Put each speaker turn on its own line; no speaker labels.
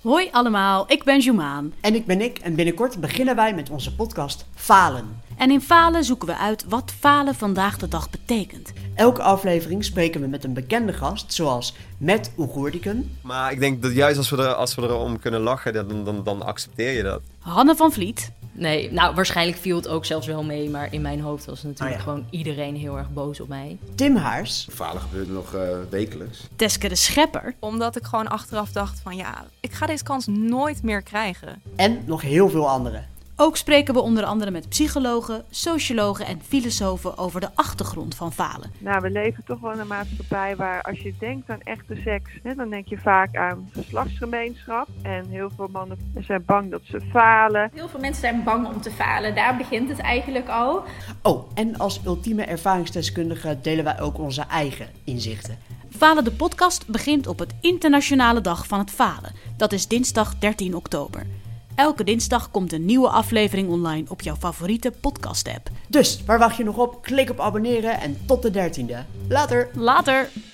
Hoi allemaal, ik ben Jumaan.
En ik ben ik en binnenkort beginnen wij met onze podcast Falen.
En in Falen zoeken we uit wat falen vandaag de dag betekent.
Elke aflevering spreken we met een bekende gast, zoals Matt Oegurdiken,
Maar ik denk dat juist als we, er, als we erom kunnen lachen, dan, dan, dan accepteer je dat.
Hanne van Vliet.
Nee, nou waarschijnlijk viel het ook zelfs wel mee, maar in mijn hoofd was natuurlijk
Ah, ja.
gewoon iedereen heel erg boos op mij.
Tim Haars
Falen gebeurt nog eh, wekelijks.
Teske de Schepper.
Omdat ik gewoon achteraf dacht van ja, ik ga deze kans nooit meer krijgen.
en nog heel veel anderen.
Ook spreken we onder andere met psychologen, sociologen en filosofen over de achtergrond van falen.
Nou, we leven toch wel in een maatschappij waar als je denkt aan echte seks, hè, dan denk je vaak aan geslachtsgemeenschap. En heel veel mannen zijn bang dat ze falen.
Heel veel mensen zijn bang om te falen. Daar begint het eigenlijk al.
Oh, en als ultieme ervaringsdeskundige delen wij ook onze eigen inzichten.
Falen de podcast begint op het Internationale Dag van het Falen. Dat is dinsdag 13 oktober. Elke dinsdag komt een nieuwe aflevering online op jouw favoriete podcast-app.
Dus, waar wacht je nog op? Klik op abonneren en tot de dertiende. Later!
Later!